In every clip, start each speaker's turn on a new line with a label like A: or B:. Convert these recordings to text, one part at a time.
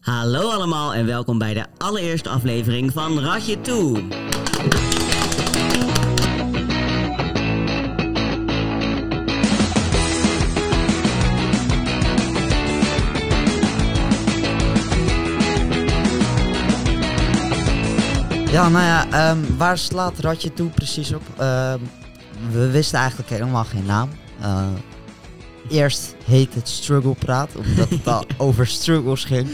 A: Hallo allemaal en welkom bij de allereerste aflevering van Radje Toe.
B: Ja, nou ja, ehm, waar slaat Ratje toe precies op? Ehm, we wisten eigenlijk helemaal geen naam. Eh, eerst heet het Struggle Praat, omdat het al over struggles ging.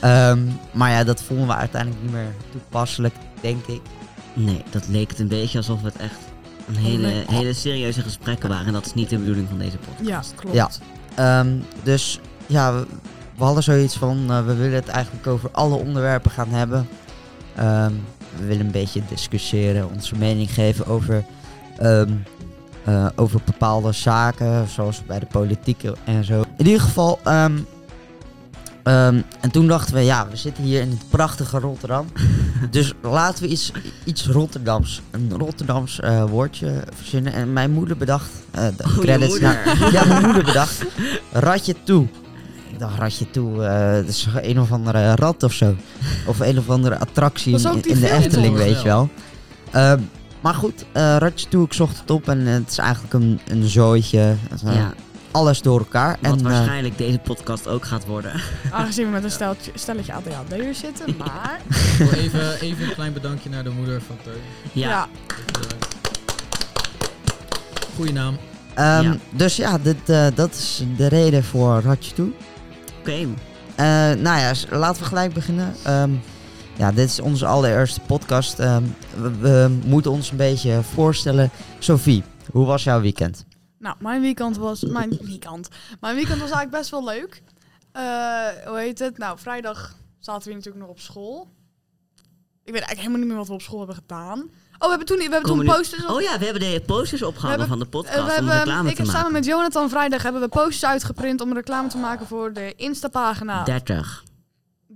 B: Ehm, maar ja, dat vonden we uiteindelijk niet meer toepasselijk, denk ik.
A: Nee, dat leek het een beetje alsof het echt een hele, hele serieuze gesprekken waren. En dat is niet de bedoeling van deze podcast.
C: Ja, klopt.
B: Ja. Ehm, dus ja, we, we hadden zoiets van, eh, we willen het eigenlijk over alle onderwerpen gaan hebben. Ehm, we willen een beetje discussiëren, onze mening geven over, ehm, eh, over bepaalde zaken, zoals bij de politiek en zo. In ieder geval, ehm, ehm, en toen dachten we, ja, we zitten hier in het prachtige Rotterdam. dus laten we iets, iets Rotterdams, een Rotterdams eh, woordje verzinnen. En mijn moeder bedacht, eh, de
A: Oh, je
B: credits
A: moeder.
B: naar ja, mijn moeder bedacht. Ratje toe. Ik dacht, ratje toe, eh dat is een of andere rat of zo. Of een of andere attractie
C: Dat is ook
B: in,
C: die
B: in de
C: film
B: Efteling,
C: toch?
B: weet je wel. Ehm, maar goed, eh, ratje toe, ik zocht het op en het is eigenlijk een, een zooitje. Eh,
A: Ja,
B: Alles door elkaar.
A: wat
B: en, eh,
A: waarschijnlijk deze podcast ook gaat worden.
C: Aangezien we met een steltje, stelletje ADHD'ers zitten, maar...
D: Voor even, even een klein bedankje naar de moeder van Teun.
A: Ja,
D: Bedankt. Goeie naam.
B: ehm,
A: ja.
B: Dus ja, dit, eh, dat is de reden voor ratje toe.
A: oké.
B: Eh, nou ja, s- laten we gelijk beginnen. Ehm, ja, dit is onze allereerste podcast. Ehm, we, we moeten ons een beetje voorstellen. Sophie, hoe was jouw weekend?
C: Nou, mijn weekend was... Mijn weekend. Mijn weekend was eigenlijk best wel leuk. Eh, hoe heet het? Nou, vrijdag zaten we natuurlijk nog op school. Ik weet eigenlijk helemaal niet meer wat we op school hebben gedaan. Oh, we hebben toen, we hebben toen
A: Communi-
C: posters... op-
A: Oh ja, we hebben de posters opgehangen
C: hebben-
A: van de
C: eh,
A: podcast
C: we
A: om
C: hebben,
A: reclame
C: ik
A: te
C: heb samen
A: maken.
C: met Jonathan vrijdag hebben we posters uitgeprint om reclame te maken voor de Insta-pagina.
A: 30.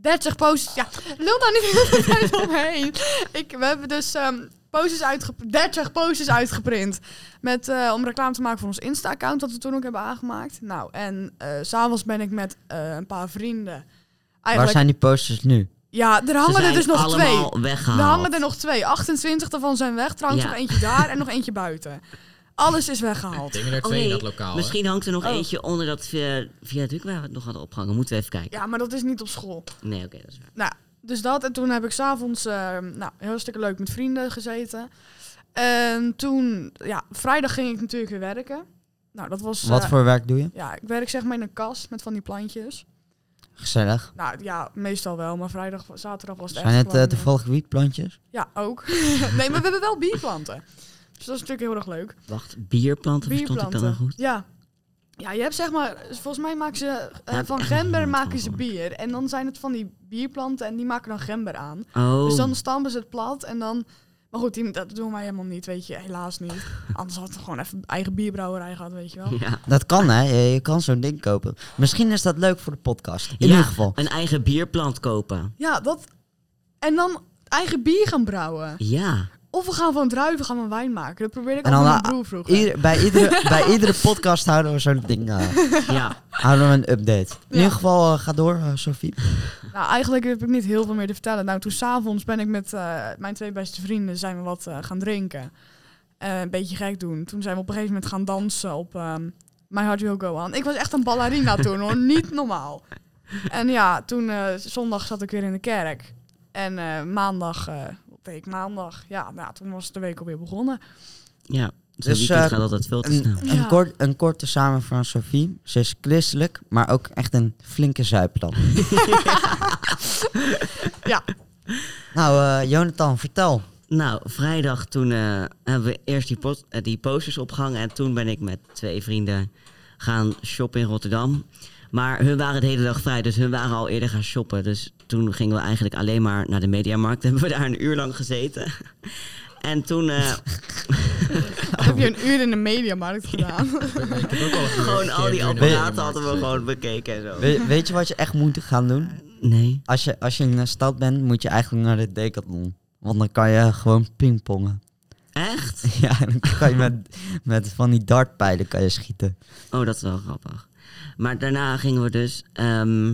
C: 30 posters. Ja, lul daar niet heel veel tijd omheen. Ik, we hebben dus ehm, posters uitge- 30 posters uitgeprint. Met, eh, om reclame te maken voor ons Insta-account, dat we toen ook hebben aangemaakt. Nou, en eh, s s'avonds ben ik met eh, een paar vrienden.
B: Waar
C: Eigenlijk,
B: zijn die posters nu?
C: ja, er hangen er dus nog twee.
A: allemaal weggehaald.
C: Er hangen er nog twee. 28 daarvan zijn weg. Trouwens,
A: Ja.
C: nog eentje daar en nog eentje buiten. Alles is weggehaald.
D: Dingen er
A: Oh,
D: twee in
A: nee,
D: dat lokaal. Misschien...
A: Misschien hangt er nog
C: Oh.
A: eentje onder dat via, viaduct waar we het nog hadden opgehangen. Moeten we even kijken.
C: Ja, maar dat is niet op school.
A: Nee, oké, dat is waar.
C: Nou, dus dat. En toen heb ik s'avonds avonds eh, nou, heel stuk leuk met vrienden gezeten. En toen, ja, vrijdag ging ik natuurlijk weer werken. Nou, dat was...
B: Wat
C: eh,
B: voor werk doe je?
C: Ja, ik werk zeg maar in een kas met van die plantjes.
B: Gezellig.
C: Nou ja, meestal wel, maar vrijdag, zaterdag was het
B: Zijn
C: echt
B: het eh
C: gewoon-
B: toevallig wietplantjes?
C: Ja, ook. nee, maar we hebben wel bierplanten. Dus dat is natuurlijk heel erg leuk.
A: Wacht, bierplanten verstond ik dan
B: nou
A: wel goed?
C: Ja. Ja, je hebt zeg maar, volgens mij maken ze, eh,
A: Ja,
C: van
A: ik-
C: gember
A: ik-
C: maken ze bier. En dan zijn het van die bierplanten en die maken dan gember aan.
A: Oh,
C: Dus dan stampen ze het plat en dan... Maar goed, die, dat doen wij helemaal niet, weet je. Helaas niet. Anders hadden we gewoon even eigen bierbrouwerij gehad, weet je wel.
A: ja.
B: Dat kan hè, je, je kan zo'n ding kopen. Misschien is dat leuk voor de podcast. In
A: Ja,
B: ieder geval.
A: Een eigen bierplant kopen.
C: Ja, dat... En dan eigen bier gaan brouwen.
A: Ja.
C: Of we gaan van druiven gaan we wijn maken. Dat probeerde ik
B: En
C: al met
B: dan
C: mijn
B: na-
C: broer vroeger.
B: Ieder- bij, iedere, bij iedere podcast houden we zo'n ding. eh,
A: ja.
B: houden we een update. In
C: Ja.
B: ieder geval, eh, ga door, eh, Sophie.
C: Nou, eigenlijk heb ik niet heel veel meer te vertellen. Nou, toen s'avonds ben ik met eh, mijn twee beste vrienden zijn we wat eh, gaan drinken. Eh, een beetje gek doen. Toen zijn we op een gegeven moment gaan dansen op ehm My Heart Will Go On. Ik was echt een ballerina toen hoor, niet normaal. En ja, toen eh, zondag zat ik weer in de kerk. En eh, maandag, eh, wat deed ik maandag? Ja, nou, toen was de week alweer begonnen.
A: ja. Zo'n
B: Dus,
A: weekend
B: eh,
A: gaat altijd veel te snel.
B: Een, een,
C: Ja.
B: kort, een korte samen van Sophie. Ze is christelijk, maar ook echt een flinke zuiplan.
C: Ja.
B: Nou, eh, Jonathan, vertel.
A: Nou, vrijdag toen eh, hebben we eerst die, pot- eh, die posters opgehangen. En toen ben ik met twee vrienden gaan shoppen in Rotterdam. Maar hun waren de hele dag vrij, dus hun waren al eerder gaan shoppen. Dus toen gingen we eigenlijk alleen maar naar de mediamarkt. Hebben we daar een uur lang gezeten. En toen eh,
C: Heb je een uur in de mediamarkt gedaan?
D: Ik heb ook al
A: gewoon al die apparaten hadden we gewoon bekeken en zo.
B: We- weet je wat je echt moet gaan doen?
A: Nee.
B: Als je, als je in een stad bent, moet je eigenlijk naar de Decathlon. Want dan kan je gewoon pingpongen.
A: Echt?
B: Ja, dan kan je met, met van die dartpijlen kan je schieten.
A: Oh, dat is wel grappig. Maar daarna gingen we dus ehm,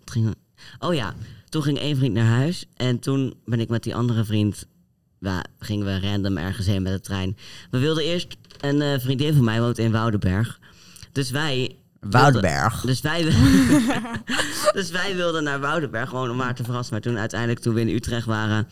A: wat ging... Oh ja, toen ging één vriend naar huis. En toen ben ik met die andere vriend... Ja, gingen we random ergens heen met de trein. We wilden eerst... Een eh, vriendin van mij woont in Woudenberg. Dus wij...
B: Woudenberg.
A: Dus wij, dus wij wilden naar Woudenberg gewoon om haar te verrassen. Maar toen uiteindelijk, toen we in Utrecht waren...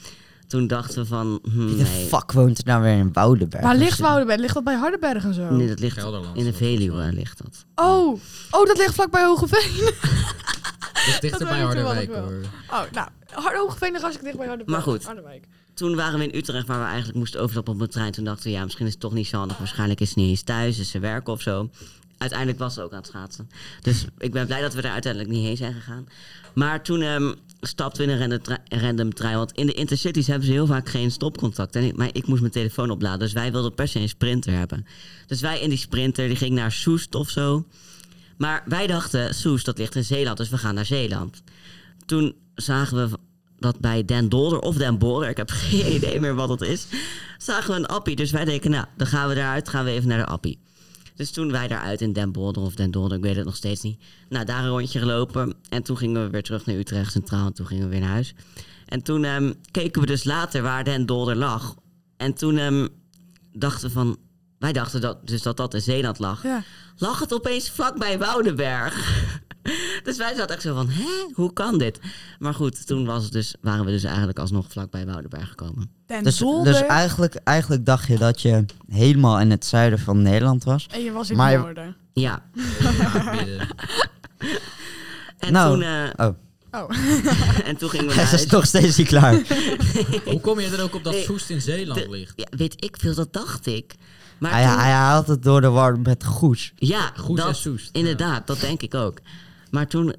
A: Toen dachten we van... hm,
B: Wie de
A: nee,
B: fuck woont er nou weer in Woudenberg?
C: Waar ligt
B: Dus,
C: Woudenberg? Ligt dat bij Hardenberg en zo?
A: nee, dat ligt
D: Gelderland,
A: in de
D: dat is
A: Veluwe.
D: wel-
A: Ligt dat.
C: Oh, oh, dat ligt vlakbij Hogeveen.
D: Dat is dichter
C: weet
D: bij
C: ik toevallig
D: Harderwijk
C: wel.
D: hoor.
C: Oh, nou, Hard Hogeveen ligt hartstikke dicht bij Hardenberg.
A: Maar goed.
C: Harderwijk.
A: Toen waren we in Utrecht, waar we eigenlijk moesten overstappen op een trein. Toen dachten we, ja, misschien is het toch niet zo handig. Waarschijnlijk is het niet eens thuis, is ze werken of zo. Uiteindelijk was ze ook aan het schaatsen. Dus ik ben blij dat we daar uiteindelijk niet heen zijn gegaan. Maar toen ehm, stapten we in een random, tre- random trein. Want in de intercities hebben ze heel vaak geen stopcontact. En ik, maar ik moest mijn telefoon opladen. Dus wij wilden per se een sprinter hebben. Dus wij in die sprinter, die ging naar Soest of zo. Maar wij dachten, Soest, dat ligt in Zeeland. Dus we gaan naar Zeeland. Toen zagen we dat bij Den Dolder of Den Bolder, ik heb geen idee meer wat het is, zagen we een appie. Dus wij denken, nou, dan gaan we daaruit, gaan we even naar de appie. Dus toen wij daaruit in Den Bolder of Den Dolder, ik weet het nog steeds niet. Nou, daar een rondje gelopen. En toen gingen we weer terug naar Utrecht Centraal. En toen gingen we weer naar huis. En toen ehm, keken we dus later waar Den Dolder lag. En toen ehm, dachten we van... Wij dachten dat, dus dat dat in Zeeland lag
C: Ja.
A: lag het opeens vlakbij Woudenberg. dus wij zaten echt zo van, hè, hoe kan dit? Maar goed, toen was het dus, waren we dus eigenlijk alsnog vlakbij Woudenberg gekomen.
C: Den
B: Dus,
C: Dolder.
B: dus eigenlijk, eigenlijk dacht je dat je helemaal in het zuiden van Nederland was.
C: en je was in
B: maar-
C: het noorden.
A: Ja.
D: Midden.
A: En,
B: Nou,
A: toen, eh,
B: Oh,
A: en toen gingen we naar
B: hij is
A: huis.
B: nog steeds niet klaar.
D: Hoe kom je er ook op dat
A: Nee,
D: Soest in Zeeland
A: de-
D: ligt?
A: Ja, weet ik veel, dat dacht ik. Maar
B: hij,
A: toen-
B: Ah hij haalt het door de war met goes.
A: ja,
D: Goed en
A: dat,
D: Soest.
A: inderdaad, dat denk ik ook. Maar toen,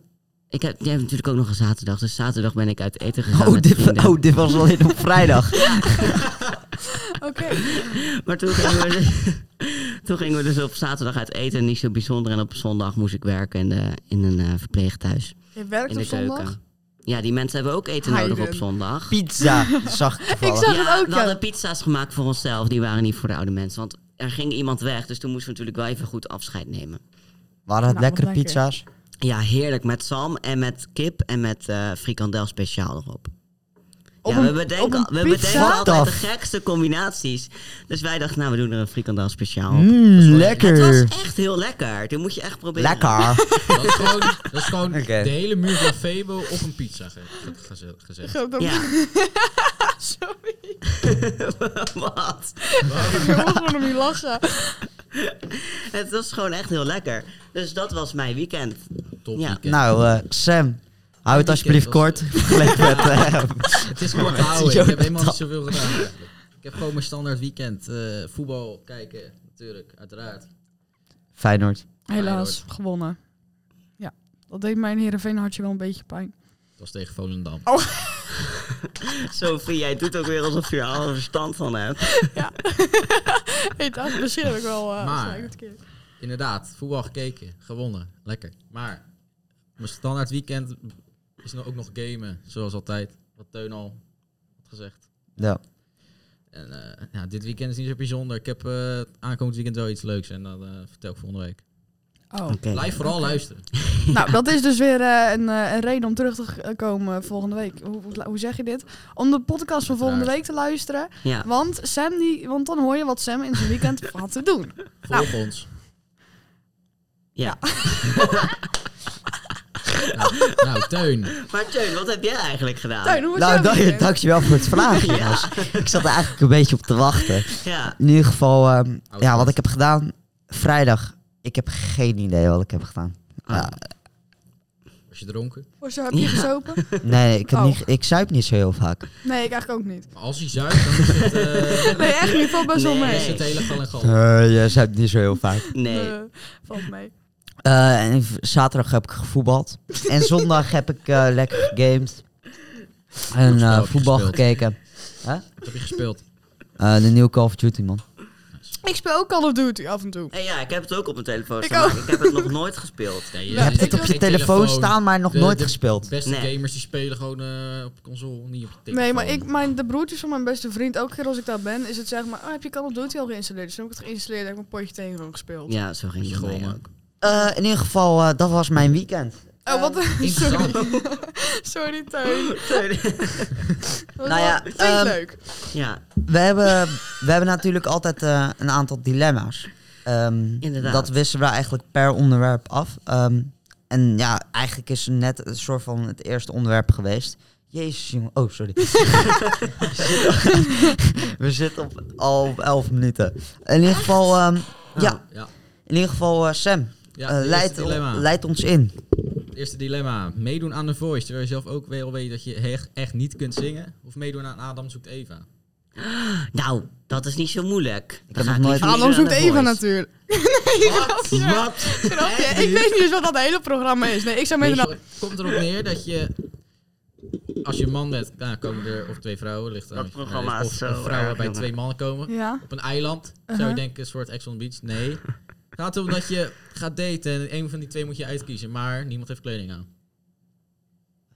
A: ik heb, jij hebt natuurlijk ook nog een zaterdag, dus zaterdag ben ik uit eten gegaan
B: Oh
A: met
B: dit,
A: vrienden.
B: oh, dit was alleen op vrijdag.
C: Oké.
A: Maar toen gingen, we dus, toen gingen we dus op zaterdag uit eten. Niet zo bijzonder. En op zondag moest ik werken in, de, in een eh verpleeghuis.
C: Je werkt
A: In
C: op
A: de keuken.
C: zondag?
A: Ja, die mensen hebben ook eten
C: Heiden.
A: nodig op zondag.
B: Pizza, zag ik toevallig.
C: Ik zag- het
A: ja,
C: ook,
A: we
C: ja.
A: hadden pizza's gemaakt voor onszelf. Die waren niet voor de oude mensen. Want er ging iemand weg. Dus toen moesten we natuurlijk wel even goed afscheid nemen.
B: Waren het
C: Nou, wat
B: lekkere
C: lekker.
B: pizza's?
A: Ja, heerlijk. Met zalm en met kip en met eh, frikandel speciaal erop.
C: Op
A: ja,
C: een-
A: we bedenken,
C: op
A: we
C: een pizza?
A: bedenken altijd
B: What
A: de
B: the f-
A: gekste combinaties. Dus wij dachten, nou, we doen er een frikandel speciaal op.
B: Mmm,
A: Het
B: lekker.
A: Oh, was echt heel lekker. Dit moet je echt proberen.
B: Lekker.
D: Dat is gewoon, dat is gewoon
B: Oké.
D: de hele muur van Febo op een pizza ge- ge- geze- gezet.
C: Zo, dat-
A: Ja.
C: Sorry,
A: Wat?
C: ik mocht gewoon om je lachen.
A: Het was gewoon echt heel lekker. Dus dat was mijn weekend.
D: Top
A: Ja.
D: weekend.
B: Nou, eh, Sam, hou het
D: Weekend
B: alsjeblieft
D: was-
B: kort. Vergeleken met, eh,
D: Het is kort houden. Ik heb
B: Jonathan.
D: helemaal niet zoveel gedaan. eigenlijk. Ik heb gewoon mijn standaard weekend. eh, voetbal kijken, natuurlijk, uiteraard.
B: Feyenoord.
C: Helaas, gewonnen. Ja, dat deed mijn Heerenveen hartje wel een beetje pijn.
D: Dat was tegen Volendam.
A: Sophie, jij doet ook weer alsof je er alle verstand van hebt.
C: Ik dacht, misschien heb ik wel... eh,
D: Maar-
C: zei ik het verkeerd.
D: Inderdaad, voetbal gekeken, gewonnen, lekker. Maar mijn standaard weekend is nou ook nog gamen, zoals altijd. Wat Teun al had gezegd.
B: Ja.
D: En eh, ja, dit weekend is niet zo bijzonder. Ik heb eh aankomend weekend wel iets leuks en dat eh, vertel ik volgende week.
C: Oh.
A: Oké.
D: Blijf vooral luisteren.
C: Nou, dat is dus weer eh, een, eh, een reden om terug te g- komen volgende week. Hoe, hoe- hoe zeg je dit? Om de podcast van volgende week te luisteren.
A: Ja.
C: Want, Sam die, want dan hoor je wat Sam in zijn weekend had te doen.
D: Volg ons.
A: ja.
D: Nou, nou, Teun.
A: Maar Teun, wat heb jij eigenlijk gedaan?
C: Tuin, hoe was
B: Nou,
C: jouw
B: dank,
C: weekend?
B: dankjewel voor het vragen,
A: Ja.
B: jongens. Ik zat er eigenlijk een beetje op te wachten.
A: Ja.
B: In ieder geval, ehm,
D: Oud
B: ja, wat
D: goed.
B: ik heb gedaan. Vrijdag, ik heb geen idee wat ik heb gedaan. Ja,
D: Was je dronken?
C: Of zo, heb je
A: Ja.
C: gesopen?
B: nee, ik, heb
C: Oh.
B: niet, ik zuip niet zo heel vaak.
C: Nee, ik eigenlijk ook niet.
D: Maar als hij zuigt, dan is het, eh,
C: Nee, echt niet. Valt best wel
A: Nee.
D: is
C: mee.
D: het hele gal en gal.
B: Eh jij zuipt niet zo heel vaak.
A: Nee.
C: Eh, valt mee.
B: Eh, en v- zaterdag heb ik gevoetbald. En zondag heb ik eh, lekker gegamed. En
D: Goed spel
B: eh,
D: heb je
B: voetbal
D: gespeeld.
B: gekeken.
D: Wat heb je gespeeld?
B: Eh, de nieuwe Call of Duty, man.
C: Ik speel ook Call of Duty af en toe.
A: En ja, ik heb het ook op mijn telefoon
C: Ik
A: staan.
C: ook.
A: Ik heb het nog nooit gespeeld.
D: Nee,
B: Je hebt
D: zit
B: het op je
D: geen
B: telefoon staan, maar nog
D: De-
B: nooit
D: de-
B: gespeeld.
D: De beste
A: Nee.
D: gamers die spelen gewoon eh, op console, niet op de telefoon.
C: Nee, maar ik, mijn, de broertjes van mijn beste vriend, elke keer als ik daar ben, is het zeg maar, oh, heb je Call of Duty al geïnstalleerd? Dus toen heb ik het geïnstalleerd en heb ik mijn potje tegen hem gespeeld.
A: Ja, zo ging
D: Je
A: het bij mij
D: gewonnen.
A: ook.
B: Eh, in ieder geval, eh, dat was mijn weekend.
C: Oh, wat?
D: Interessant.
C: Sorry. Sorry, Teun. Dat was
B: Nou ja,
C: wel- klinkt
B: ehm,
C: leuk.
A: ja,
B: We hebben, we hebben natuurlijk altijd eh, een aantal dilemma's. Ehm,
A: Inderdaad.
B: Dat wisselen we eigenlijk per onderwerp af. Ehm, en ja, eigenlijk is het net een soort van het eerste onderwerp geweest. Jezus, jongen. Oh, sorry. We zitten- we zitten op al elf minuten. In ieder geval, ehm, ja,
D: Ja.
B: in ieder geval eh, Sam,
D: Oh. Ja,
B: eh,
D: het
B: leid,
D: eerste dilemma.
B: leid ons in.
D: Het eerste dilemma. Meedoen aan de Voice, terwijl je zelf ook wel weet dat je echt, echt niet kunt zingen. Of meedoen aan Adam zoekt Eva.
A: nou, dat is niet zo moeilijk.
B: heb nog nooit-
A: even
C: Adam zoekt Eva natuurlijk.
D: Wat? nou-
C: Ja.
A: Wat?
C: Grapje.
D: Echt
C: Ik
D: niet?
C: weet niet eens wat dat hele programma is. Nee, ik zou
D: Weet
C: meedoen
D: je, het komt erop neer dat je... Als je een man bent, nou komen er of twee vrouwen. Ligt
A: Dat
D: aan,
A: programma
D: of
A: is zo
D: een vrouw
A: erg,
D: waarbij
A: jongen.
D: twee mannen komen.
C: Ja.
D: Op een eiland zou
C: Uh-huh.
D: je denken een soort Ex on the Beach. Nee. Het gaat erom dat je gaat daten en een van die twee moet je uitkiezen. Maar niemand heeft kleding aan.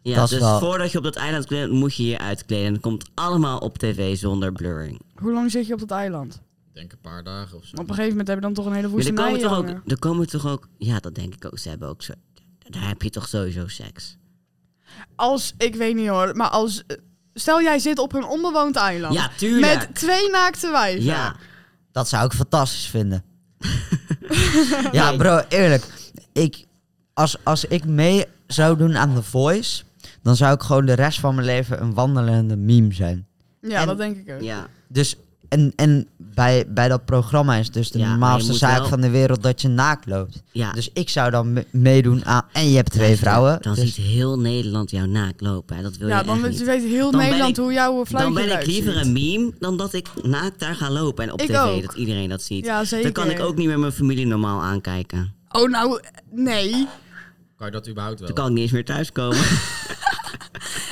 A: Ja,
B: Dat is
A: dus
B: wel-
A: voordat je op dat eiland kleedt, moet je je uitkleden. En dat komt allemaal op tv zonder blurring.
C: Hoe lang zit je op dat eiland?
D: Ik denk een paar dagen of zo.
C: Op een gegeven moment heb je dan toch een hele
A: Maar er
C: woestenij
A: komen, toch ook,
C: hangen.
A: er komen toch ook... Ja, dat denk ik ook. Ze hebben ook zo... Daar heb je toch sowieso seks.
C: Als, ik weet niet hoor, maar als... eh, Stel jij zit op een onbewoond eiland.
A: Ja, tuurlijk.
C: Met twee naakte wijven.
A: Ja.
B: Dat zou ik fantastisch vinden. ja,
A: Nee.
B: bro, eerlijk. Ik, als, als ik mee zou doen aan The Voice, dan zou ik gewoon de rest van mijn leven een wandelende meme zijn.
C: Ja,
B: En-
C: dat denk ik ook.
A: ja.
B: Dus, en, en bij, bij dat programma is dus de
A: Ja, maar je
B: normaalste
A: moet
B: zaak
A: wel-
B: van de wereld dat je naakt loopt.
A: Ja.
B: Dus ik zou dan me- meedoen aan... En je hebt twee
A: Luister,
B: vrouwen.
A: Dan
B: dus-
A: ziet heel Nederland jou naakt lopen. Hè. Dat wil
C: Ja,
A: je
C: dan
A: echt
C: weet,
A: niet.
C: weet heel
A: Dan ben
C: Nederland
A: ik-
C: hoe jouw fluitje
A: Dan ben ik
C: eruit
A: liever
C: ziet.
A: een meme dan dat ik naakt daar ga lopen. En op
C: Ik
A: tv
C: ook.
A: dat iedereen dat ziet.
C: Ja, zeker.
A: Dan kan ik ook niet meer mijn familie normaal aankijken.
C: Oh, nou, nee.
D: Kan je dat überhaupt wel?
A: Dan kan ik niet eens meer thuiskomen.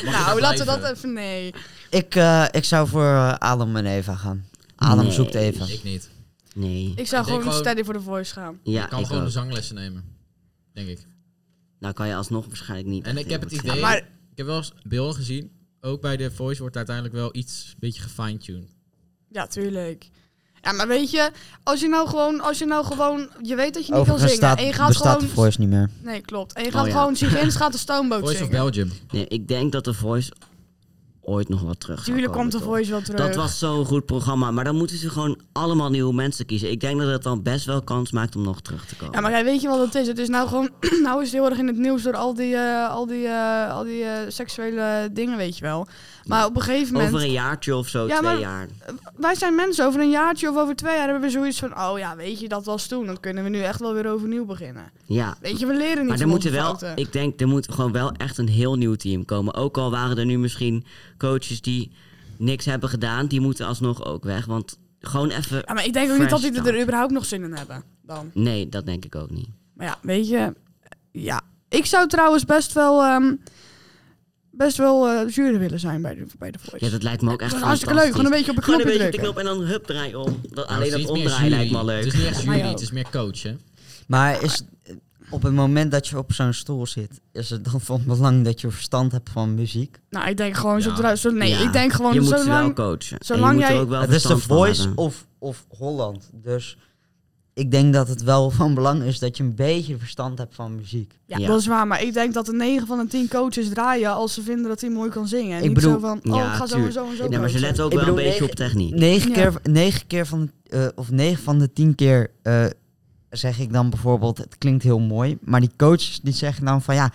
C: Nou, laten we dat even... Nee.
B: ik, eh, ik zou voor eh, Adam en Eva gaan. Adam
A: Nee.
B: zoekt Eva.
D: Ik niet.
A: Nee.
C: Ik zou
D: Ik denk
C: gewoon
D: gewoon-
C: steady voor de voice gaan.
A: Ja,
D: ik kan
A: ik
D: gewoon
A: ook.
D: zanglessen nemen. Denk ik.
A: Nou kan je alsnog waarschijnlijk niet.
D: En
A: echt
D: ik
A: heel
D: heb het
A: goed
D: idee,
A: zingen.
C: maar-
D: ik heb wel eens beelden gezien. Ook bij de voice wordt uiteindelijk wel iets een beetje gefine-tuned.
C: Ja, tuurlijk. Ja, maar weet je, als je nou gewoon, als je nou gewoon, je weet dat je niet kan
B: Overigens
C: zingen.
B: staat,
C: en je gaat
B: bestaat
C: gewoon,
B: The Voice niet meer.
C: nee klopt. En je gaat
A: Oh ja.
C: gewoon Sigens gaat de stoomboot
D: Voice of
C: zingen.
D: Belgium. Nou,
A: Nee, ik denk dat de Voice ooit nog wat terug zal
C: Tuurlijk komt de
A: toch?
C: voice wel terug.
A: Dat was zo'n goed programma, maar dan moeten ze gewoon allemaal nieuwe mensen kiezen. Ik denk dat het dan best wel kans maakt om nog terug te komen.
C: Ja, maar jij weet je wat het is? Het is nou gewoon, nou is het heel erg in het nieuws door al die, eh, al die, eh, al die eh, seksuele dingen, weet je wel. Maar op een gegeven moment,
A: Over een jaartje of zo,
C: Ja,
A: twee
C: maar-
A: jaar.
C: wij zijn mensen over een jaartje of over twee jaar hebben we zoiets van, oh ja, weet je, dat was toen. Dan kunnen we nu echt wel weer overnieuw beginnen.
A: Ja.
C: Weet je, we leren niet
A: Maar
C: van
A: er moeten
C: onze
A: wel,
C: fouten.
A: ik denk, er moet gewoon wel echt een heel nieuw team komen. Ook al waren er nu misschien coaches die niks hebben gedaan, die moeten alsnog ook weg. Want gewoon even.
C: Ja, maar ik denk ook niet dat
A: Fresh
C: die er
A: start.
C: überhaupt nog zin in hebben dan.
A: Nee, dat denk ik ook niet.
C: Maar ja, weet je. Ja. Ik zou trouwens best wel. ehm, best wel eh jury willen zijn bij de, bij de Voice.
A: Ja, dat lijkt me ook
C: Dat
A: echt.
C: is hartstikke leuk. Gewoon een beetje op een
A: Gewoon
C: knopje
A: een beetje op de
C: drukken.
A: knop en dan hup, draai om. Dat,
D: Nou,
A: alleen
D: het
A: dat
D: is iets meer
A: omdraaien lijkt me al
D: jury.
A: leuk.
D: Het is niet echt
C: Mij
D: jury,
C: ook.
D: het is meer coach, hè?
B: Maar is, op het moment dat je op zo'n stoel zit, is het dan van belang dat je verstand hebt van muziek?
C: Nou, ik denk gewoon zo
D: Ja.
C: zodra. zo- nee,
A: Ja,
C: ik denk
A: je
C: gewoon
A: moet ze wel
C: zolang.
A: coachen. En
C: zolang
A: je moet er
C: jij-
A: ook wel
B: het is de
A: verstand van
B: Voice
A: hebben.
B: of, of Holland. Dus ik denk dat het wel van belang is dat je een beetje verstand hebt van muziek.
C: Ja,
A: Ja.
C: dat is waar. Maar ik denk dat de 9 van de 10 coaches draaien als ze vinden dat hij mooi kan zingen. En
B: Ik
C: niet
B: bedoel-
C: zo van. Oh,
A: Ja,
C: ik ga zo en
A: tuurlijk.
C: zo en zo.
A: Nee, maar ze
C: coachen.
A: letten ook
B: Ik
A: wel een
B: bedoel,
A: beetje op techniek.
B: Negen
C: Ja.
B: keer, negen keer van, eh, of negen van de tien keer eh, zeg ik dan bijvoorbeeld, het klinkt heel mooi. Maar die coaches die zeggen dan van ja,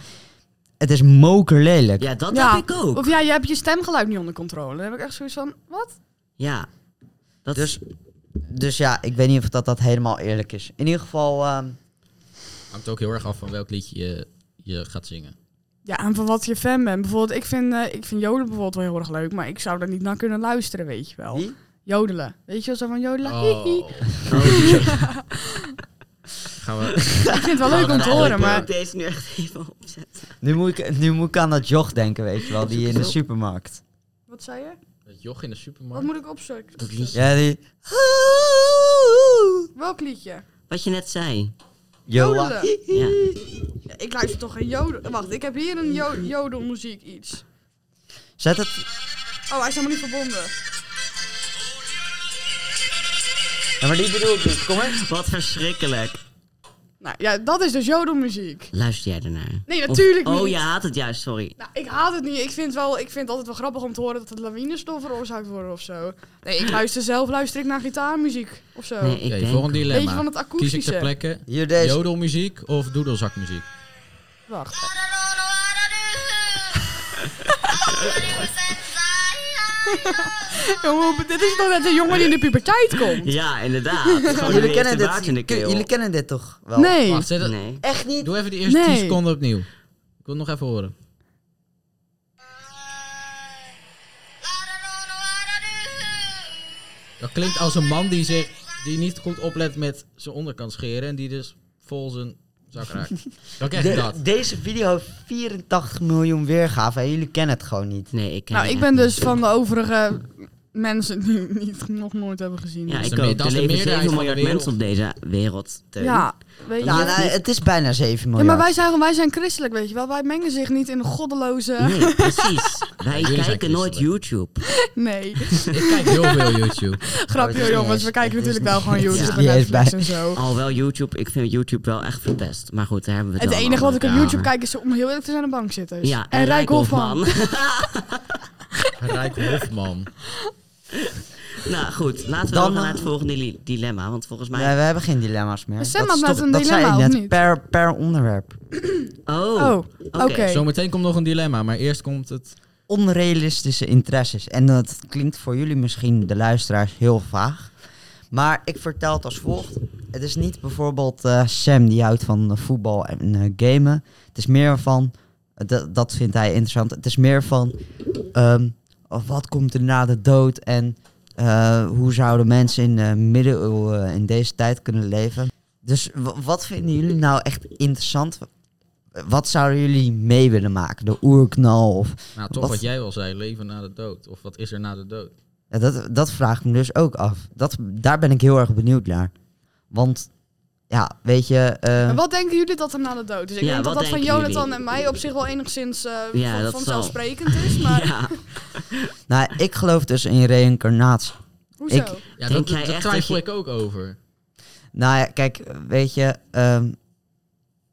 B: het is mokerlelijk.
A: Ja, dat
C: Ja.
A: heb ik ook.
C: Of ja, je hebt je stemgeluid niet onder controle. Dan heb ik echt zoiets van. Wat?
A: Ja. Dat
B: Dus, dus ja, ik weet niet of dat, dat helemaal eerlijk is. In ieder geval... ehm,
D: Hangt ook heel erg af van welk liedje je, je gaat zingen.
C: Ja, en van wat je fan bent. Bijvoorbeeld, ik vind, eh, ik vind joden bijvoorbeeld wel heel erg leuk. Maar ik zou daar niet naar kunnen luisteren, weet je
A: Nou,
C: wel.
B: Wie?
C: Jodelen. Weet je wel zo van jodelen? Hihi.
D: Oh. gaan we...
C: Ik vind het wel leuk om te
D: Nou,
C: horen,
D: ik,
A: maar...
C: maar
A: ik deze nu echt even opzetten.
B: Nu moet, ik, nu moet ik aan dat joch denken, weet je wel, die in de supermarkt.
C: Wat zei je?
D: Het joch in de supermarkt.
C: Wat moet ik opzoeken?
A: Dat liedje.
B: Ja, die...
C: Welk liedje?
A: Wat je net zei.
B: Joa.
C: Jodelen.
A: Ja.
C: Ja, Ik luister toch geen joden. Wacht, ik heb hier een jo- jodelmuziek iets.
B: Zet het...
C: Oh, hij is helemaal niet verbonden.
B: Ja, maar die bedoel ik niet. Kom eens.
A: Wat verschrikkelijk.
C: Nou ja, dat is dus jodelmuziek.
A: Luister jij ernaar?
C: Nee,
A: Of-
C: natuurlijk niet.
A: Oh, je haat het juist, sorry.
C: Nou, ik haat het niet. Ik vind, wel, ik vind het altijd wel grappig om te horen dat het lawines door veroorzaakt worden of zo. Nee, ik luister zelf luister ik naar gitaarmuziek of zo.
A: Nee, ik
D: Oké,
A: denk...
D: voor een
C: Beetje van
D: dilemma.
C: het
D: Kies ik ter
C: akoestische.
D: plekke
B: Hier deze.
D: jodelmuziek of doedelzakmuziek?
C: Wacht. Jongen, dit is toch net een jongen die in de puberteit komt?
A: Ja, inderdaad. Gewoon
B: jullie,
A: weer
B: kennen
A: te waard in de
B: dit,
A: keel.
B: jullie kennen dit toch wel?
C: Nee.
D: Wacht, zet het-
A: Nee.
B: Echt niet?
D: Doe even de eerste 10
C: Nee.
D: seconden opnieuw. Ik wil het nog even horen. Dat klinkt als een man die, zich, die niet goed oplet met zijn onderkant scheren en die dus vol zijn zak raakt. Dat echt
B: De-
D: dat.
B: Deze video heeft 84 miljoen weergaven en jullie kennen het gewoon niet.
A: Nee, ik ken
C: Nou,
A: het
C: ik
A: echt
C: ben
A: niet.
C: dus van de overige mensen die niet, nog nooit hebben gezien. Dus
A: Ja,
D: is
A: ik
D: de me-
A: ook.
D: dat
A: Er
D: is de
A: leven
D: meerderheid
A: 7
D: van de
A: miljard mensen op deze wereld. Teun.
C: Ja, weet je.
B: Ja,
A: Ja,
B: nou,
A: niet-
B: het is bijna 7
C: Ja,
B: miljoen.
C: maar wij zijn, wij zijn christelijk, weet je wel. Wij mengen zich niet in goddeloze...
A: Nee, precies. Wij
D: jullie zijn
A: kijken nooit YouTube.
C: Nee,
D: Ik kijk heel veel YouTube.
C: grapje
B: niet
C: hoor, jongens.
B: eens-
C: We
B: het
C: kijken
B: is
C: natuurlijk
B: niet-
C: wel gewoon
B: het is
C: YouTube en
B: niet eens
C: Netflix
B: bij-
C: en zo.
A: Alhoewel YouTube, ik vind YouTube wel echt verpest. Maar goed, daar hebben we het
C: Het
A: dan
C: enige wat ik
A: over.
C: op
D: Ja.
C: YouTube kijk is om heel eerlijk te zijn een bankzitters.
A: Ja, en, Rijk Hofman.
D: Rijk Hofman.
A: nou goed, laten we
B: Dan,
A: dan naar
B: eh,
A: het volgende li- dilemma. Want volgens mij...
B: Nee, we hebben geen dilemma's meer.
C: Maar Sam
B: dat
C: had
B: is
C: net
B: toch-
C: een
B: dat zei
C: dilemma,
B: ik
C: of
B: net,
C: niet?
B: Per, per onderwerp.
A: Oh,
C: Oh,
A: oké.
C: oké.
D: Zometeen komt nog een dilemma, maar eerst komt het.
B: Onrealistische interesses. En dat klinkt voor jullie misschien, de luisteraars, heel vaag. Maar ik vertel het als volgt. Het is niet bijvoorbeeld eh, Sam die houdt van eh, voetbal en eh, gamen. Het is meer van, eh, dat- dat vindt hij interessant. Het is meer van, ehm, of wat komt er na de dood en eh, hoe zouden mensen in de middeleeuwen eh, in deze tijd kunnen leven? Dus wa- wat vinden jullie nou echt interessant? Wat zouden jullie mee willen maken? De oerknal of
D: Nou, toch
B: Wat?
D: wat, jij al zei, leven na de dood. Of wat is er na de dood?
B: Ja, dat, dat vraag ik me dus ook af. Dat, daar ben ik heel erg benieuwd naar. Want, ja, weet je... eh,
C: En wat denken jullie dat er na de dood is? Ik
A: Ja,
C: denk dat
A: wat
C: dat van
A: denken
C: Jonathan
A: jullie?
C: en mij op zich wel enigszins eh,
A: Ja,
C: van-
A: dat
C: vanzelfsprekend is. Maar
A: Ja,
B: nou, ik geloof dus in reïncarnatie.
C: hoezo?
B: Ik-
D: Ja,
A: Denk
D: dat,
A: jij
D: dat
A: echt
D: twijfel
A: dat
D: ik ook over.
B: Nou ja, kijk, weet je... ehm,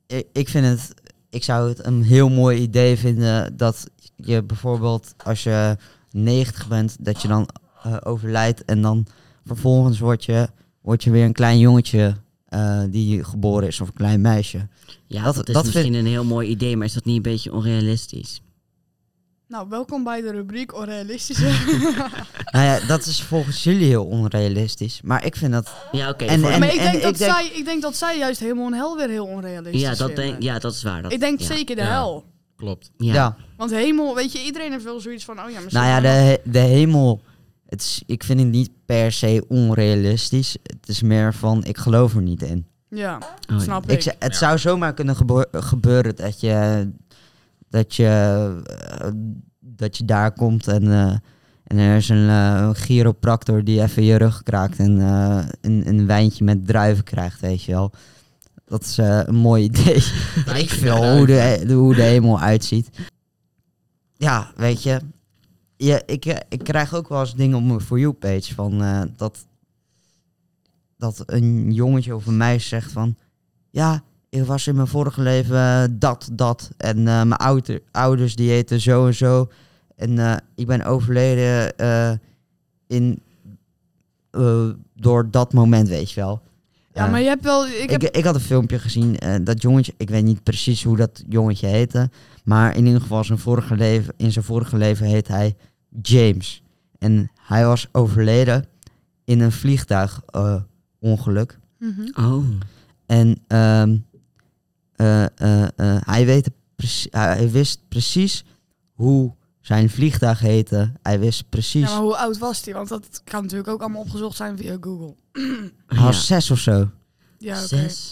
B: ik, ik vind het... Ik zou het een heel mooi idee vinden dat je bijvoorbeeld als je 90 bent, dat je dan eh, overlijdt en dan vervolgens word je, word je weer een klein jongetje eh, die geboren is of een klein meisje.
A: ja dat,
B: Dat-
A: is
B: dat
A: misschien
B: vind-
A: een heel mooi idee, maar is dat niet een beetje onrealistisch?
C: Nou, welkom bij de rubriek onrealistische.
B: Nou ja, dat is volgens jullie heel onrealistisch. Maar ik vind dat.
A: Ja, oké.
B: En-
A: voor-
B: en-
C: maar ik denk, dat
B: ik denk-
C: zij, ik denk dat zij juist helemaal en hel weer heel onrealistisch
A: ja, dat
C: vinden.
A: denk, ja, dat is waar. Dat,
C: ik denk
A: ja.
C: zeker de
D: Ja.
C: hel.
D: Klopt.
A: Ja.
B: Ja.
C: Want hemel, weet je, iedereen heeft wel zoiets van, oh ja, misschien...
B: Nou ja, de, he- de hemel. Het is, ik vind het niet per se onrealistisch. Het is meer van, ik geloof er niet in.
C: Ja,
A: Oh, ja.
C: snap ik.
B: Ik, ze- het zou zomaar kunnen gebo- gebeuren dat je. Dat je, eh, dat je daar komt en, eh, en er is een eh, een chiropractor die even je rug kraakt en eh, een, een wijntje met druiven krijgt, weet je wel. Dat is eh, een mooi idee. Ik veel hoe de, de- hoe de hemel uitziet. Ja, weet je. je ik, eh, ik krijg ook wel eens dingen op mijn For You-page van eh, dat, dat een jongetje of een meisje zegt van... Ja, ik was in mijn vorige leven eh, dat, dat. En eh, mijn ouder, ouders die heten zo en zo. En eh, ik ben overleden eh, in, eh, door dat moment, weet je wel.
C: Ja,
B: Eh,
C: maar je hebt wel... Ik
B: ik,
C: heb,
B: ik, had een filmpje gezien, eh, dat jongetje, ik weet niet precies hoe dat jongetje heette, maar in ieder geval zijn vorige leven, in zijn vorige leven heet hij James. En hij was overleden in een vliegtuigongeluk.
C: Mhm.
A: Oh,
B: en ehm, eh, eh, eh, hij, weet preci- hij wist precies hoe zijn vliegtuig heette. Hij wist
C: Ja,
B: precies,
C: maar hoe oud was die? Want dat kan natuurlijk ook allemaal opgezocht zijn via Google.
B: hij was zes of zo.
C: Ja, oké.
A: Zes.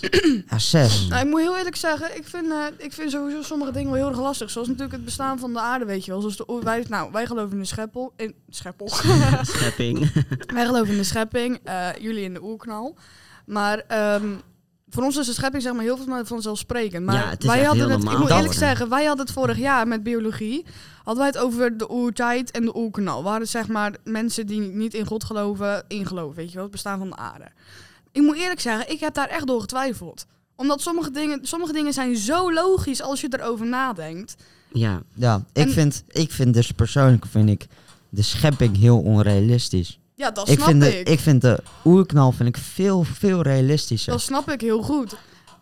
B: Ja, zes.
C: Nou, ik moet heel eerlijk zeggen, ik vind, eh, ik vind sowieso sommige dingen wel heel erg lastig. Zoals natuurlijk het bestaan van de aarde, weet je wel. Zoals de, oer- wij, nou, wij geloven in de scheppel. In, scheppel.
A: Schepping.
C: wij geloven in de schepping, eh, jullie in de oerknal. Maar ehm, voor ons is de schepping zeg maar heel veel vanzelfsprekend. Maar
A: Ja, het is
C: wij
A: echt
C: hadden
A: heel
C: het, ik
A: normaal
C: moet eerlijk
A: geworden.
C: zeggen, wij hadden het vorig jaar met biologie. Hadden wij het over de oertijd en de oerknal. Waren het zeg maar mensen die niet in God geloven, in geloof, weet je wel. Het bestaan van de aarde. Ik moet eerlijk zeggen, ik heb daar echt door getwijfeld. Omdat sommige dingen, sommige dingen zijn zo logisch als je erover nadenkt.
A: Ja,
B: Ja, ik,
C: En-
B: vind, ik vind dus persoonlijk vind ik de schepping heel onrealistisch.
C: Ja, dat
B: Ik
C: snap
B: vind, De,
C: ik.
B: ik vind de oerknal vind ik veel, veel realistischer.
C: Dat snap ik heel goed.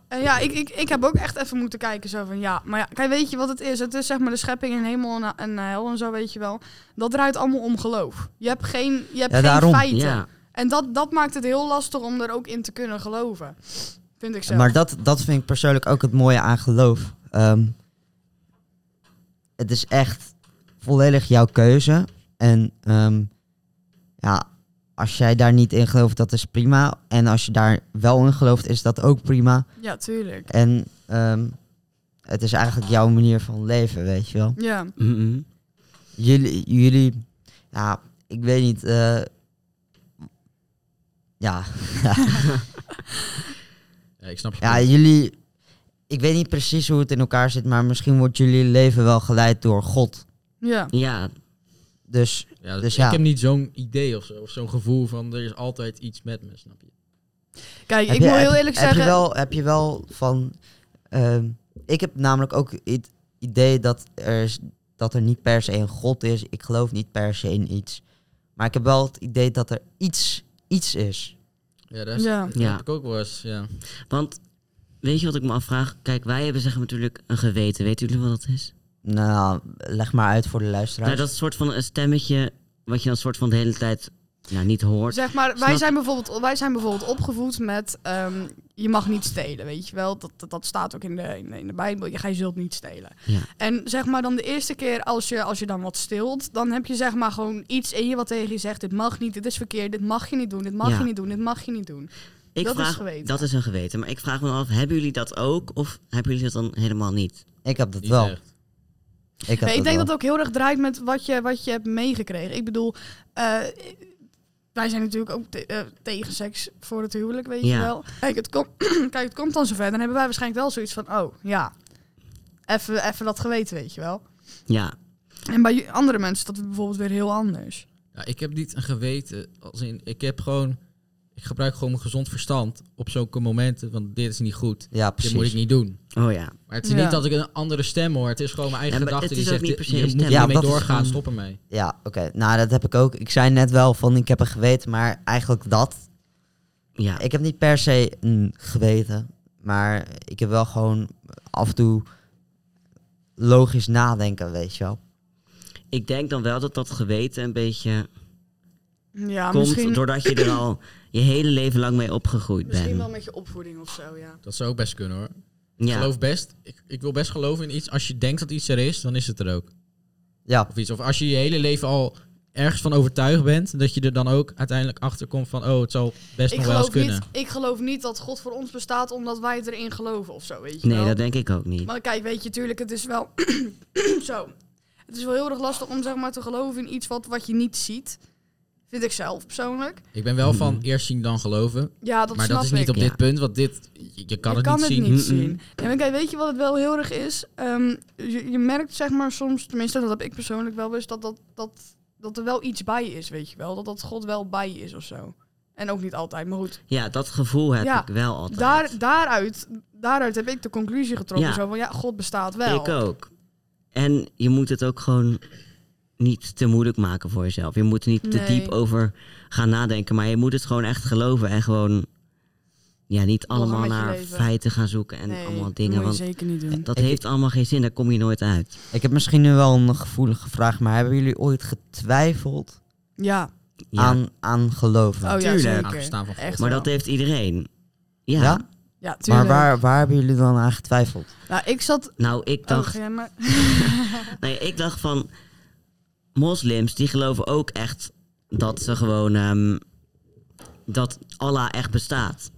C: En ja, ik, ik, ik heb ook echt even moeten kijken zo van ja, maar ja, kijk, weet je wat het is? Het is zeg maar de schepping in hemel en, en hel en zo, weet je wel. Dat draait allemaal om geloof. Je hebt geen, je hebt
B: Ja,
C: geen
B: daarom.
C: feiten.
A: ja.
C: En dat, dat maakt het heel lastig om er ook in te kunnen geloven. Vind ik zelf.
B: Maar dat, dat vind ik persoonlijk ook het mooie aan geloof. Ehm, het is echt volledig jouw keuze. En ehm, ja, als jij daar niet in gelooft, dat is prima. En als je daar wel in gelooft, is dat ook prima.
C: Ja, tuurlijk.
B: En ehm, het is eigenlijk jouw manier van leven, weet je wel.
C: Ja.
A: Mhm.
B: Jullie, jullie ja, ik weet niet. eh, ja,
D: Ja, ik snap je.
B: Ja,
D: punt.
B: jullie. Ik weet niet precies hoe het in elkaar zit, maar misschien wordt jullie leven wel geleid door God.
C: Ja.
A: ja,
B: Dus
D: Ja,
B: dus
D: ik
B: ja.
D: heb niet zo'n idee of zo, of zo'n gevoel van er is altijd iets met me, snap je?
C: Kijk,
B: heb
C: ik
B: je-
C: wil heel
B: heb-
C: eerlijk
B: heb
C: zeggen.
B: Je wel, heb je wel van. ehm, ik heb namelijk ook het idee dat er, is- dat er niet per se een God is. Ik geloof niet per se in iets. Maar ik heb wel het idee dat er iets, iets is.
D: Ja, daar is-
C: Ja.
D: dat
A: Ja.
D: heb ik ook wel eens. Ja.
A: want weet je wat ik me afvraag? Kijk, wij hebben zeg maar natuurlijk een geweten. Weten jullie wat dat is?
B: Nou, leg maar uit voor de luisteraars.
A: Nou, dat is een soort van een stemmetje wat je dan soort van de hele tijd nou, niet hoort.
C: Zeg maar, wij
A: Snap-
C: zijn, bijvoorbeeld, wij zijn bijvoorbeeld opgevoed met ehm, je mag niet stelen, weet je wel. Dat, dat, dat staat ook in de, in, de- in de Bijbel. Je, je zult niet stelen.
A: Ja.
C: En zeg maar dan de eerste keer als je, als je dan wat stilt, dan heb je zeg maar gewoon iets in je wat tegen je zegt. Dit mag niet, dit is verkeerd, dit mag je niet doen, dit mag
A: Ja.
C: je niet doen, dit mag je niet doen.
A: ik
C: dat is
A: vraag,
C: geweten.
A: Dat is een geweten. Maar ik vraag me af, hebben jullie dat ook of hebben jullie dat dan helemaal niet?
B: ik heb dat
D: Niet
B: wel.
D: echt.
B: Ik, heb
C: Nee, ik
B: dat
C: denk
B: wel.
C: dat het ook heel erg draait met wat je, wat je hebt meegekregen. Ik bedoel, eh, wij zijn natuurlijk ook te- eh, tegen seks voor het huwelijk, weet je
A: Ja.
C: wel. Kijk het, komt kijk, het komt dan zover. Dan hebben wij waarschijnlijk wel zoiets van, oh ja, even, even dat geweten, weet je wel.
A: Ja,
C: En bij ju- andere mensen is dat bijvoorbeeld weer heel anders.
D: Ja, ik heb niet een geweten. Als in, ik heb gewoon. Ik gebruik gewoon mijn gezond verstand op zulke momenten. Want dit is niet goed.
B: Ja,
D: Dit moet ik
B: precies.
D: niet doen.
A: oh ja.
D: Maar het is
C: Ja.
D: niet dat ik een andere stem hoor. Het is gewoon mijn eigen
A: Ja, maar
D: gedachte
A: het is
D: die
A: ook
D: zegt:
A: niet per
D: dit-
A: se
D: je
A: een
D: moet
A: stem.
B: Ja,
D: hiermee
B: dat is
D: doorgaan,
A: gewoon-
D: stop ermee.
B: Ja, oké. Nou, dat heb ik ook. Ik zei net wel van, ik heb een geweten, maar eigenlijk dat.
A: Ja,
B: Ik heb niet per se een geweten, maar ik heb wel gewoon af en toe logisch nadenken, weet je wel.
A: ik denk dan wel dat dat geweten een beetje
C: Ja,
A: komt
C: Ah, misschien,
A: doordat je er al je hele leven lang mee opgegroeid
C: misschien
A: bent.
C: wel met je opvoeding of zo, ja.
D: Dat zou ook best kunnen hoor. Ik
A: Ja,
D: geloof best. Ik, ik wil best geloven in iets. Als je denkt dat iets er is, dan is het er ook.
B: Ja,
D: Of iets. Of als je je hele leven al ergens van overtuigd bent, dat je er dan ook uiteindelijk achter komt van, oh, het zal best
C: Ik
D: nog wel eens
C: geloof,
D: kunnen.
C: niet, ik geloof niet dat God voor ons bestaat omdat wij het erin geloven of zo, weet je
A: nee,
C: wel.
A: dat denk ik ook niet.
C: Maar kijk, weet je, tuurlijk, het is wel zo. Het is wel heel erg lastig om zeg maar te geloven in iets wat, wat je niet ziet. Vind ik zelf persoonlijk.
D: Ik ben wel van eerst zien dan geloven.
C: Ja, dat
D: maar
C: snap
D: dat is
C: ik.
D: niet op
A: Mm-hmm. Ja.
D: dit punt, want dit, je, je kan
C: je
D: het
C: kan
D: niet
C: het
D: zien.
C: niet
A: Mm-mm.
C: zien. Ja, maar kijk, weet je wat het wel heel erg is? Ehm, je, je merkt zeg maar soms, tenminste dat heb ik persoonlijk wel eens, dat, dat, dat, dat er wel iets bij is, weet je wel. Dat dat God wel bij je is of zo. En ook niet altijd, maar goed.
A: Ja, dat gevoel heb
C: Ja,
A: ik wel altijd.
C: Daar, daaruit, daaruit heb ik de conclusie getrokken
A: Ja.
C: zo van, ja, God bestaat wel.
A: Ik ook. En je moet het ook gewoon niet te moeilijk maken voor jezelf. Je moet er niet te
C: Nee.
A: diep over gaan nadenken. Maar je moet het gewoon echt geloven. En gewoon ja, niet
C: Doorgaan
A: allemaal
C: met je
A: naar
C: leven.
A: feiten gaan zoeken en
C: Nee,
A: allemaal
C: dat moet
A: dingen.
C: je
A: Want
C: zeker niet doen.
A: dat
B: Ik-
A: heeft allemaal geen zin. Daar kom je nooit uit.
B: ik heb misschien nu wel een gevoelige vraag, maar hebben jullie ooit getwijfeld
C: Ja.
A: Ja.
B: aan, aan geloven?
C: Oh ja,
A: Tuurlijk.
D: Aan het
C: zeker.
D: bestaan van God.
C: Echt
A: maar
C: wel.
A: dat heeft iedereen. Ja.
B: Ja?
C: Ja,
B: maar
C: tuurlijk.
B: waar, waar hebben jullie dan aan getwijfeld?
C: Nou, ik zat...
A: Nou, ik
C: Oh,
A: dacht,
C: ga jij maar...
A: nee, ik dacht van moslims die geloven ook echt dat ze gewoon ehm, dat Allah echt bestaat.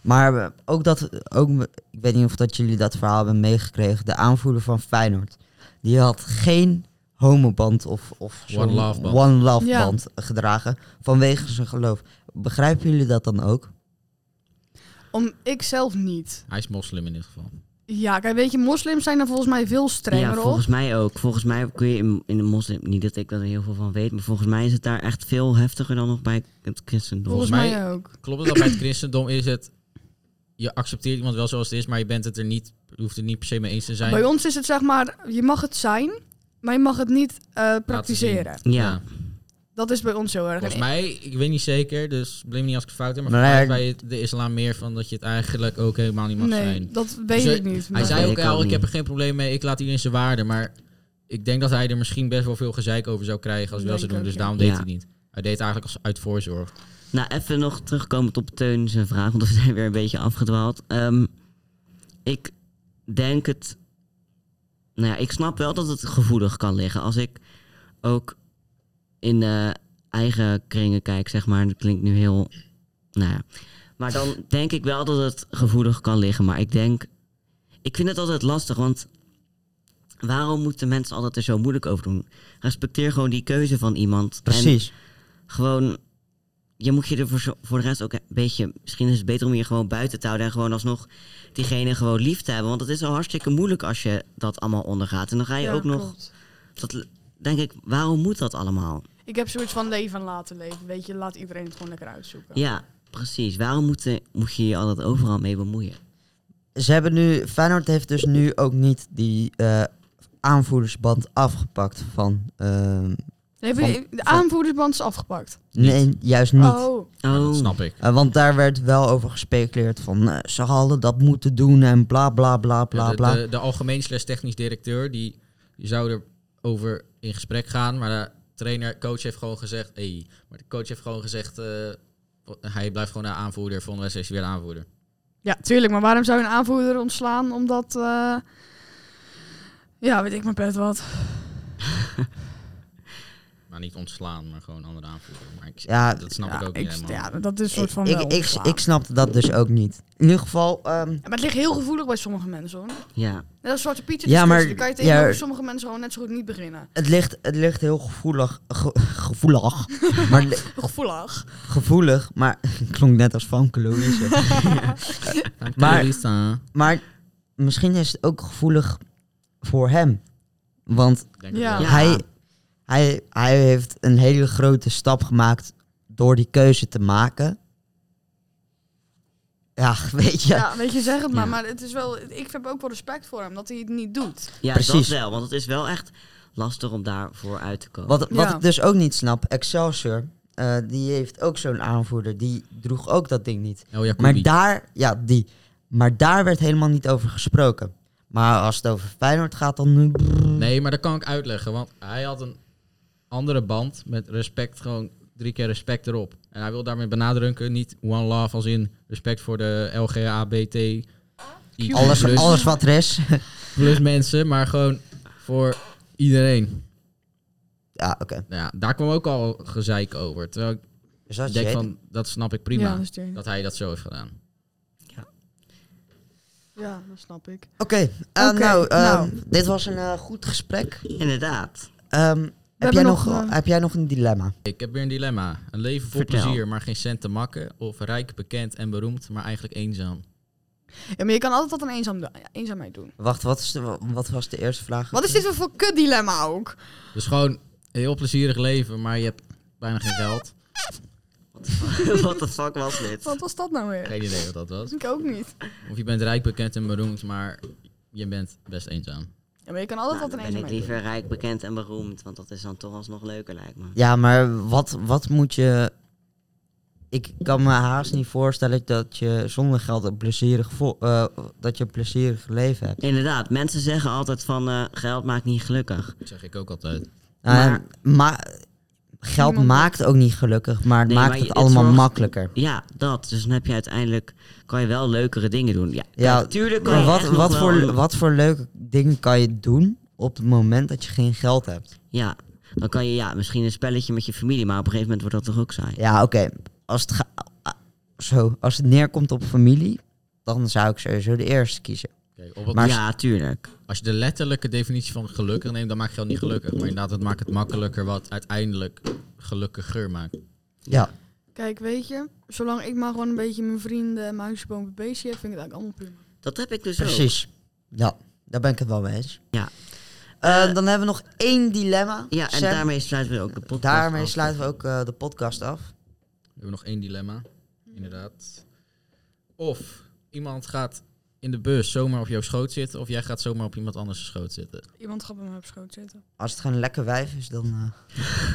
B: Maar eh, ook dat, ook, ik weet niet of dat jullie dat verhaal hebben meegekregen, de aanvoerder van Feyenoord. Die had geen homoband of, of zo'n
D: One love band.
B: one love
C: Ja.
B: band gedragen vanwege zijn geloof. Begrijpen jullie dat dan ook?
C: Om ik zelf niet.
D: Hij is moslim in dit geval.
C: Ja, kijk, weet je, moslims zijn er volgens mij veel
A: Ja,
C: strenger
A: volgens
C: op.
A: mij ook. Volgens mij kun je in, in de moslim, niet dat ik daar heel veel van weet, maar volgens mij is het daar echt veel heftiger dan nog bij het christendom.
C: Volgens
D: mij-
C: mij ook.
D: Klopt het dat bij het christendom is het je accepteert iemand wel zoals het is, maar je bent het er niet, je hoeft het niet per se mee eens te zijn.
C: Bij ons is het zeg maar, je mag het zijn, maar je mag het niet eh, praktiseren.
A: Ja.
D: Ja.
C: Dat is bij ons heel erg.
D: Volgens mij, ik weet niet zeker, dus bleem niet als ik het fout heb, maar
B: Nee,
D: volgens mij
B: ik-
D: bij de islam meer van dat je het eigenlijk ook helemaal niet mag
C: nee,
D: zijn.
C: dat Nou, weet
D: Dus, eh,
C: ik niet.
D: Hij
C: maar-
D: zei
A: weet
D: ook
A: ik ook
D: al, ik heb
A: niet.
D: er geen probleem mee, ik laat iedereen zijn waarde, maar ik denk dat hij er misschien best wel veel gezeik over zou krijgen als hij
C: Denk
D: wel zou doen,
C: ook,
D: dus
C: ja.
D: daarom deed
A: Ja.
D: hij het niet. Hij deed het eigenlijk als uit voorzorg.
A: Nou, even nog terugkomend op Teun zijn vraag, want we zijn weer een beetje afgedwaald. Ehm, ik denk het... Nou ja, ik snap wel dat het gevoelig kan liggen. Als ik ook in eh, eigen kringen kijk, zeg maar. Dat klinkt nu heel... Nou ja. Maar dan denk ik wel dat het gevoelig kan liggen. Maar ik denk... Ik vind het altijd lastig, want... Waarom moeten mensen altijd er zo moeilijk over doen? Respecteer gewoon die keuze van iemand. En
B: Precies.
A: gewoon, je moet je er voor, zo- voor de rest ook een beetje, misschien is het beter om je gewoon buiten te houden en gewoon alsnog diegene gewoon lief te hebben. Want het is al hartstikke moeilijk als je dat allemaal ondergaat. En dan ga je
C: Ja,
A: ook nog,
C: klopt.
A: dat, denk ik, waarom moet dat allemaal?
C: Ik heb zoiets van leven en laten leven. Weet je, laat iedereen het gewoon lekker uitzoeken.
A: Ja, precies. Waarom moet, eh, moet je je altijd overal mee bemoeien?
B: Ze hebben nu, Feyenoord heeft dus nu ook niet die eh, aanvoerdersband afgepakt van... ehm,
C: Nee,
B: Van-
C: we- de aanvoerdersband is afgepakt.
B: nee, juist niet.
C: Oh,
D: Dat
A: Oh,
D: snap ik.
B: Eh, want daar werd wel over gespeculeerd van eh, ze hadden dat moeten doen en bla bla bla bla
D: de,
B: bla.
D: De, de algemeen slash technisch directeur, die, die zou erover in gesprek gaan. Maar de trainer, coach heeft gewoon gezegd... Hey, maar de coach heeft gewoon gezegd... eh, hij blijft gewoon de aanvoerder. Volgende wedstrijd is hij weer de aanvoerder.
C: ja, tuurlijk. Maar waarom zou je een aanvoerder ontslaan? Omdat, eh, ja, weet ik maar pet wat.
D: Maar niet ontslaan, maar gewoon een andere aanvoerder. Maar ik,
B: Ja,
D: dat snap
C: ja,
D: ik ook niet helemaal.
C: ja, dat is een soort
B: Ik,
C: van
B: ik,
C: wel
B: ik,
C: ontslaan.
B: ik snapte dat dus ook niet. In ieder geval, ehm,
C: Ja, Maar het ligt heel gevoelig bij sommige mensen, hoor. Net
A: ja.
C: als Zwarte Pietje
B: Ja,
C: ja,
B: maar-
C: maar, kan je tegenover
B: ja.
C: sommige mensen gewoon net zo goed niet beginnen.
B: het, ligt, het ligt heel gevoelig. ge- gevoelig. maar het li-
C: Gevoelig.
B: gevoelig, maar klonk net als Van Louise.
D: Dank je,
B: Maar-
D: Lisa.
B: maar misschien is het ook gevoelig voor hem. Want
D: Ik denk het
C: Ja.
D: wel.
B: hij, hij, hij heeft een hele grote stap gemaakt door die keuze te maken. Ja, weet je.
C: Ja. weet je, zeg het maar.
A: Ja.
C: Maar het is wel, ik heb ook wel respect voor hem dat hij het niet doet.
A: ja dat
B: Precies.
A: wel. Want het is wel echt lastig om daarvoor uit te komen.
B: Wat, wat
C: Ja.
B: ik dus ook niet snap, Excelsior, eh, die heeft ook zo'n aanvoerder. Die droeg ook dat ding niet.
D: El Jacoubi.
B: Maar daar, ja, die. Maar daar werd helemaal niet over gesproken. Maar als het over Feyenoord gaat, dan eh, nu...
D: Nee, maar dat kan ik uitleggen. Want hij had een andere band met respect. Gewoon drie keer respect erop. En hij wil daarmee benadrukken. Niet one love als in respect voor de LGHBT.
B: Alles,
D: plus,
B: alles wat er is.
D: plus mensen, maar gewoon voor iedereen.
B: ja, oké.
D: Nou ja, daar kwam ook al gezeik over. Terwijl ik
B: Dus dat is
D: denk
B: je-
D: van, dat snap ik prima.
C: Ja, dat, is die-
D: Dat hij dat zo heeft gedaan.
C: ja, dat snap ik.
B: Oké, eh,
C: Oké,
B: nou, ehm,
C: nou.
B: dit was een eh, goed gesprek.
A: Inderdaad.
B: Ehm, heb, jij
C: hebben
B: nog,
C: nog, eh,
B: heb jij nog een dilemma?
D: Ik heb weer een dilemma. Een leven vol
A: Vertel.
D: plezier, maar geen cent te makken. Of rijk, bekend en beroemd, maar eigenlijk eenzaam.
C: Ja, maar je kan altijd wat aan eenzaam, eenzaamheid doen.
B: Wacht, wat, is de, wat was de eerste vraag?
C: Wat is dit voor- voor kut dilemma ook?
D: Dus gewoon een heel plezierig leven, maar je hebt bijna geen geld.
A: Wat de fuck was dit?
C: Wat was dat nou weer?
D: Geen idee wat dat was.
C: Ik ook niet.
D: Of je bent rijk, bekend en beroemd, maar je bent best eenzaam.
C: Ja, maar je kan altijd
A: Nou,
C: wat
A: dan
C: aan
A: ben ik
C: eenzaamheid doen.
A: liever rijk, bekend en beroemd. Want dat is dan toch alsnog leuker, lijkt me.
B: Ja, maar wat, wat moet je... Ik kan me haast niet voorstellen dat je zonder geld een plezierig, vo- eh, dat je een plezierig leven hebt.
A: Inderdaad, mensen zeggen altijd van eh, geld maakt niet gelukkig.
D: Dat zeg ik ook altijd.
A: Maar-
B: Eh, maar geld
C: Niemand-
B: maakt ook niet gelukkig, maar het
A: Nee,
B: maakt
A: maar
B: het
A: het
B: allemaal
A: zorgt-
B: makkelijker.
A: Ja, dat. Dus dan heb je uiteindelijk, kan je wel leukere dingen doen. Ja,
B: Ja,
A: natuurlijk kan
B: Maar
A: je
B: wat,
A: echt nog
B: wat,
A: wel
B: voor,
A: een-
B: wat voor leuke dingen kan je doen op het moment dat je geen geld hebt?
A: Ja, dan kan je ja, misschien een spelletje met je familie, maar op een gegeven moment wordt dat toch ook saai.
B: Ja, oké. Als, het ga- ah, zo, als het neerkomt op familie, dan zou ik sowieso de eerste kiezen.
D: Kijk, op het-
B: Maar-
A: ja, tuurlijk.
D: Als je de letterlijke definitie van gelukkig neemt, dan maakt geld niet gelukkig. Maar inderdaad, het maakt het makkelijker wat uiteindelijk gelukkiger maakt.
B: Ja,
C: Kijk, weet je, zolang ik maar gewoon een beetje mijn vrienden en mijn huisboom bezie heb, vind ik het eigenlijk allemaal prima.
A: Dat heb ik dus ook.
B: precies. Ja, daar ben ik het wel mee eens.
A: Ja.
B: Eh,
A: Eh,
B: dan hebben we nog één dilemma.
A: Ja, en
B: Sam.
A: daarmee Oh, sluiten we ook de podcast
B: daarmee
A: af.
B: sluiten we ook eh, de podcast af.
D: We hebben nog één dilemma, inderdaad. Of iemand gaat in de bus zomaar op jouw schoot zitten... of jij gaat zomaar op iemand anders schoot zitten.
C: Iemand gaat bij mij op schoot zitten.
B: Als het gewoon een lekker wijf is, dan...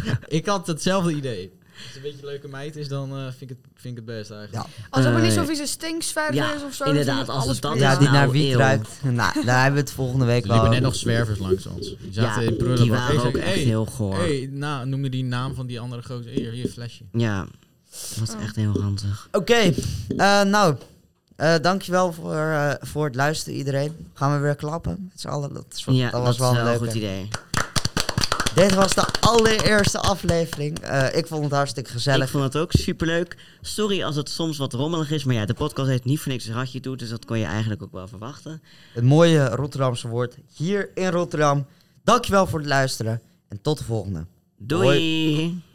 B: eh,
D: Ik had hetzelfde idee. Als het een beetje een leuke meid is, dan eh, vind, ik het, vind ik het best eigenlijk.
B: ja.
C: Als het maar niet
A: Eh,
C: zo'n vieze stinksverf
A: ja,
C: is of zo.
A: inderdaad,
C: dan vind ik
A: als het
C: alles
A: dat
C: prima.
B: ja,
A: is
B: die
A: nou
B: naar wiet
A: eeuw.
B: ruikt. Nou, daar hebben we het volgende week
D: Er liepen
B: wel.
D: net nog zwervers langs ons. Die zaten in prullenbak.
A: die
D: Ik
A: waren
D: zei,
A: ook echt
D: hey,
A: heel goor.
D: Hey, nou, noemde die naam van die andere gozer. Hier, hier, flesje.
A: Ja, dat was echt heel ranzig.
B: Oké, eh, nou, eh, dankjewel voor, eh, voor het luisteren iedereen. Gaan we weer klappen met z'n allen? Dat, is,
A: Ja,
B: dat was wel een
A: een
B: leuke.
A: goed idee.
B: Dit was de allereerste aflevering. Eh, ik vond het hartstikke
A: Ik
B: gezellig.
A: vond het ook superleuk. Sorry als het soms wat rommelig is, maar ja, de podcast heeft niet voor niks een ratje toe, dus dat kon je eigenlijk ook wel verwachten.
B: Het mooie Rotterdamse woord hier in Rotterdam. Dankjewel voor het luisteren en tot de volgende.
A: Doei!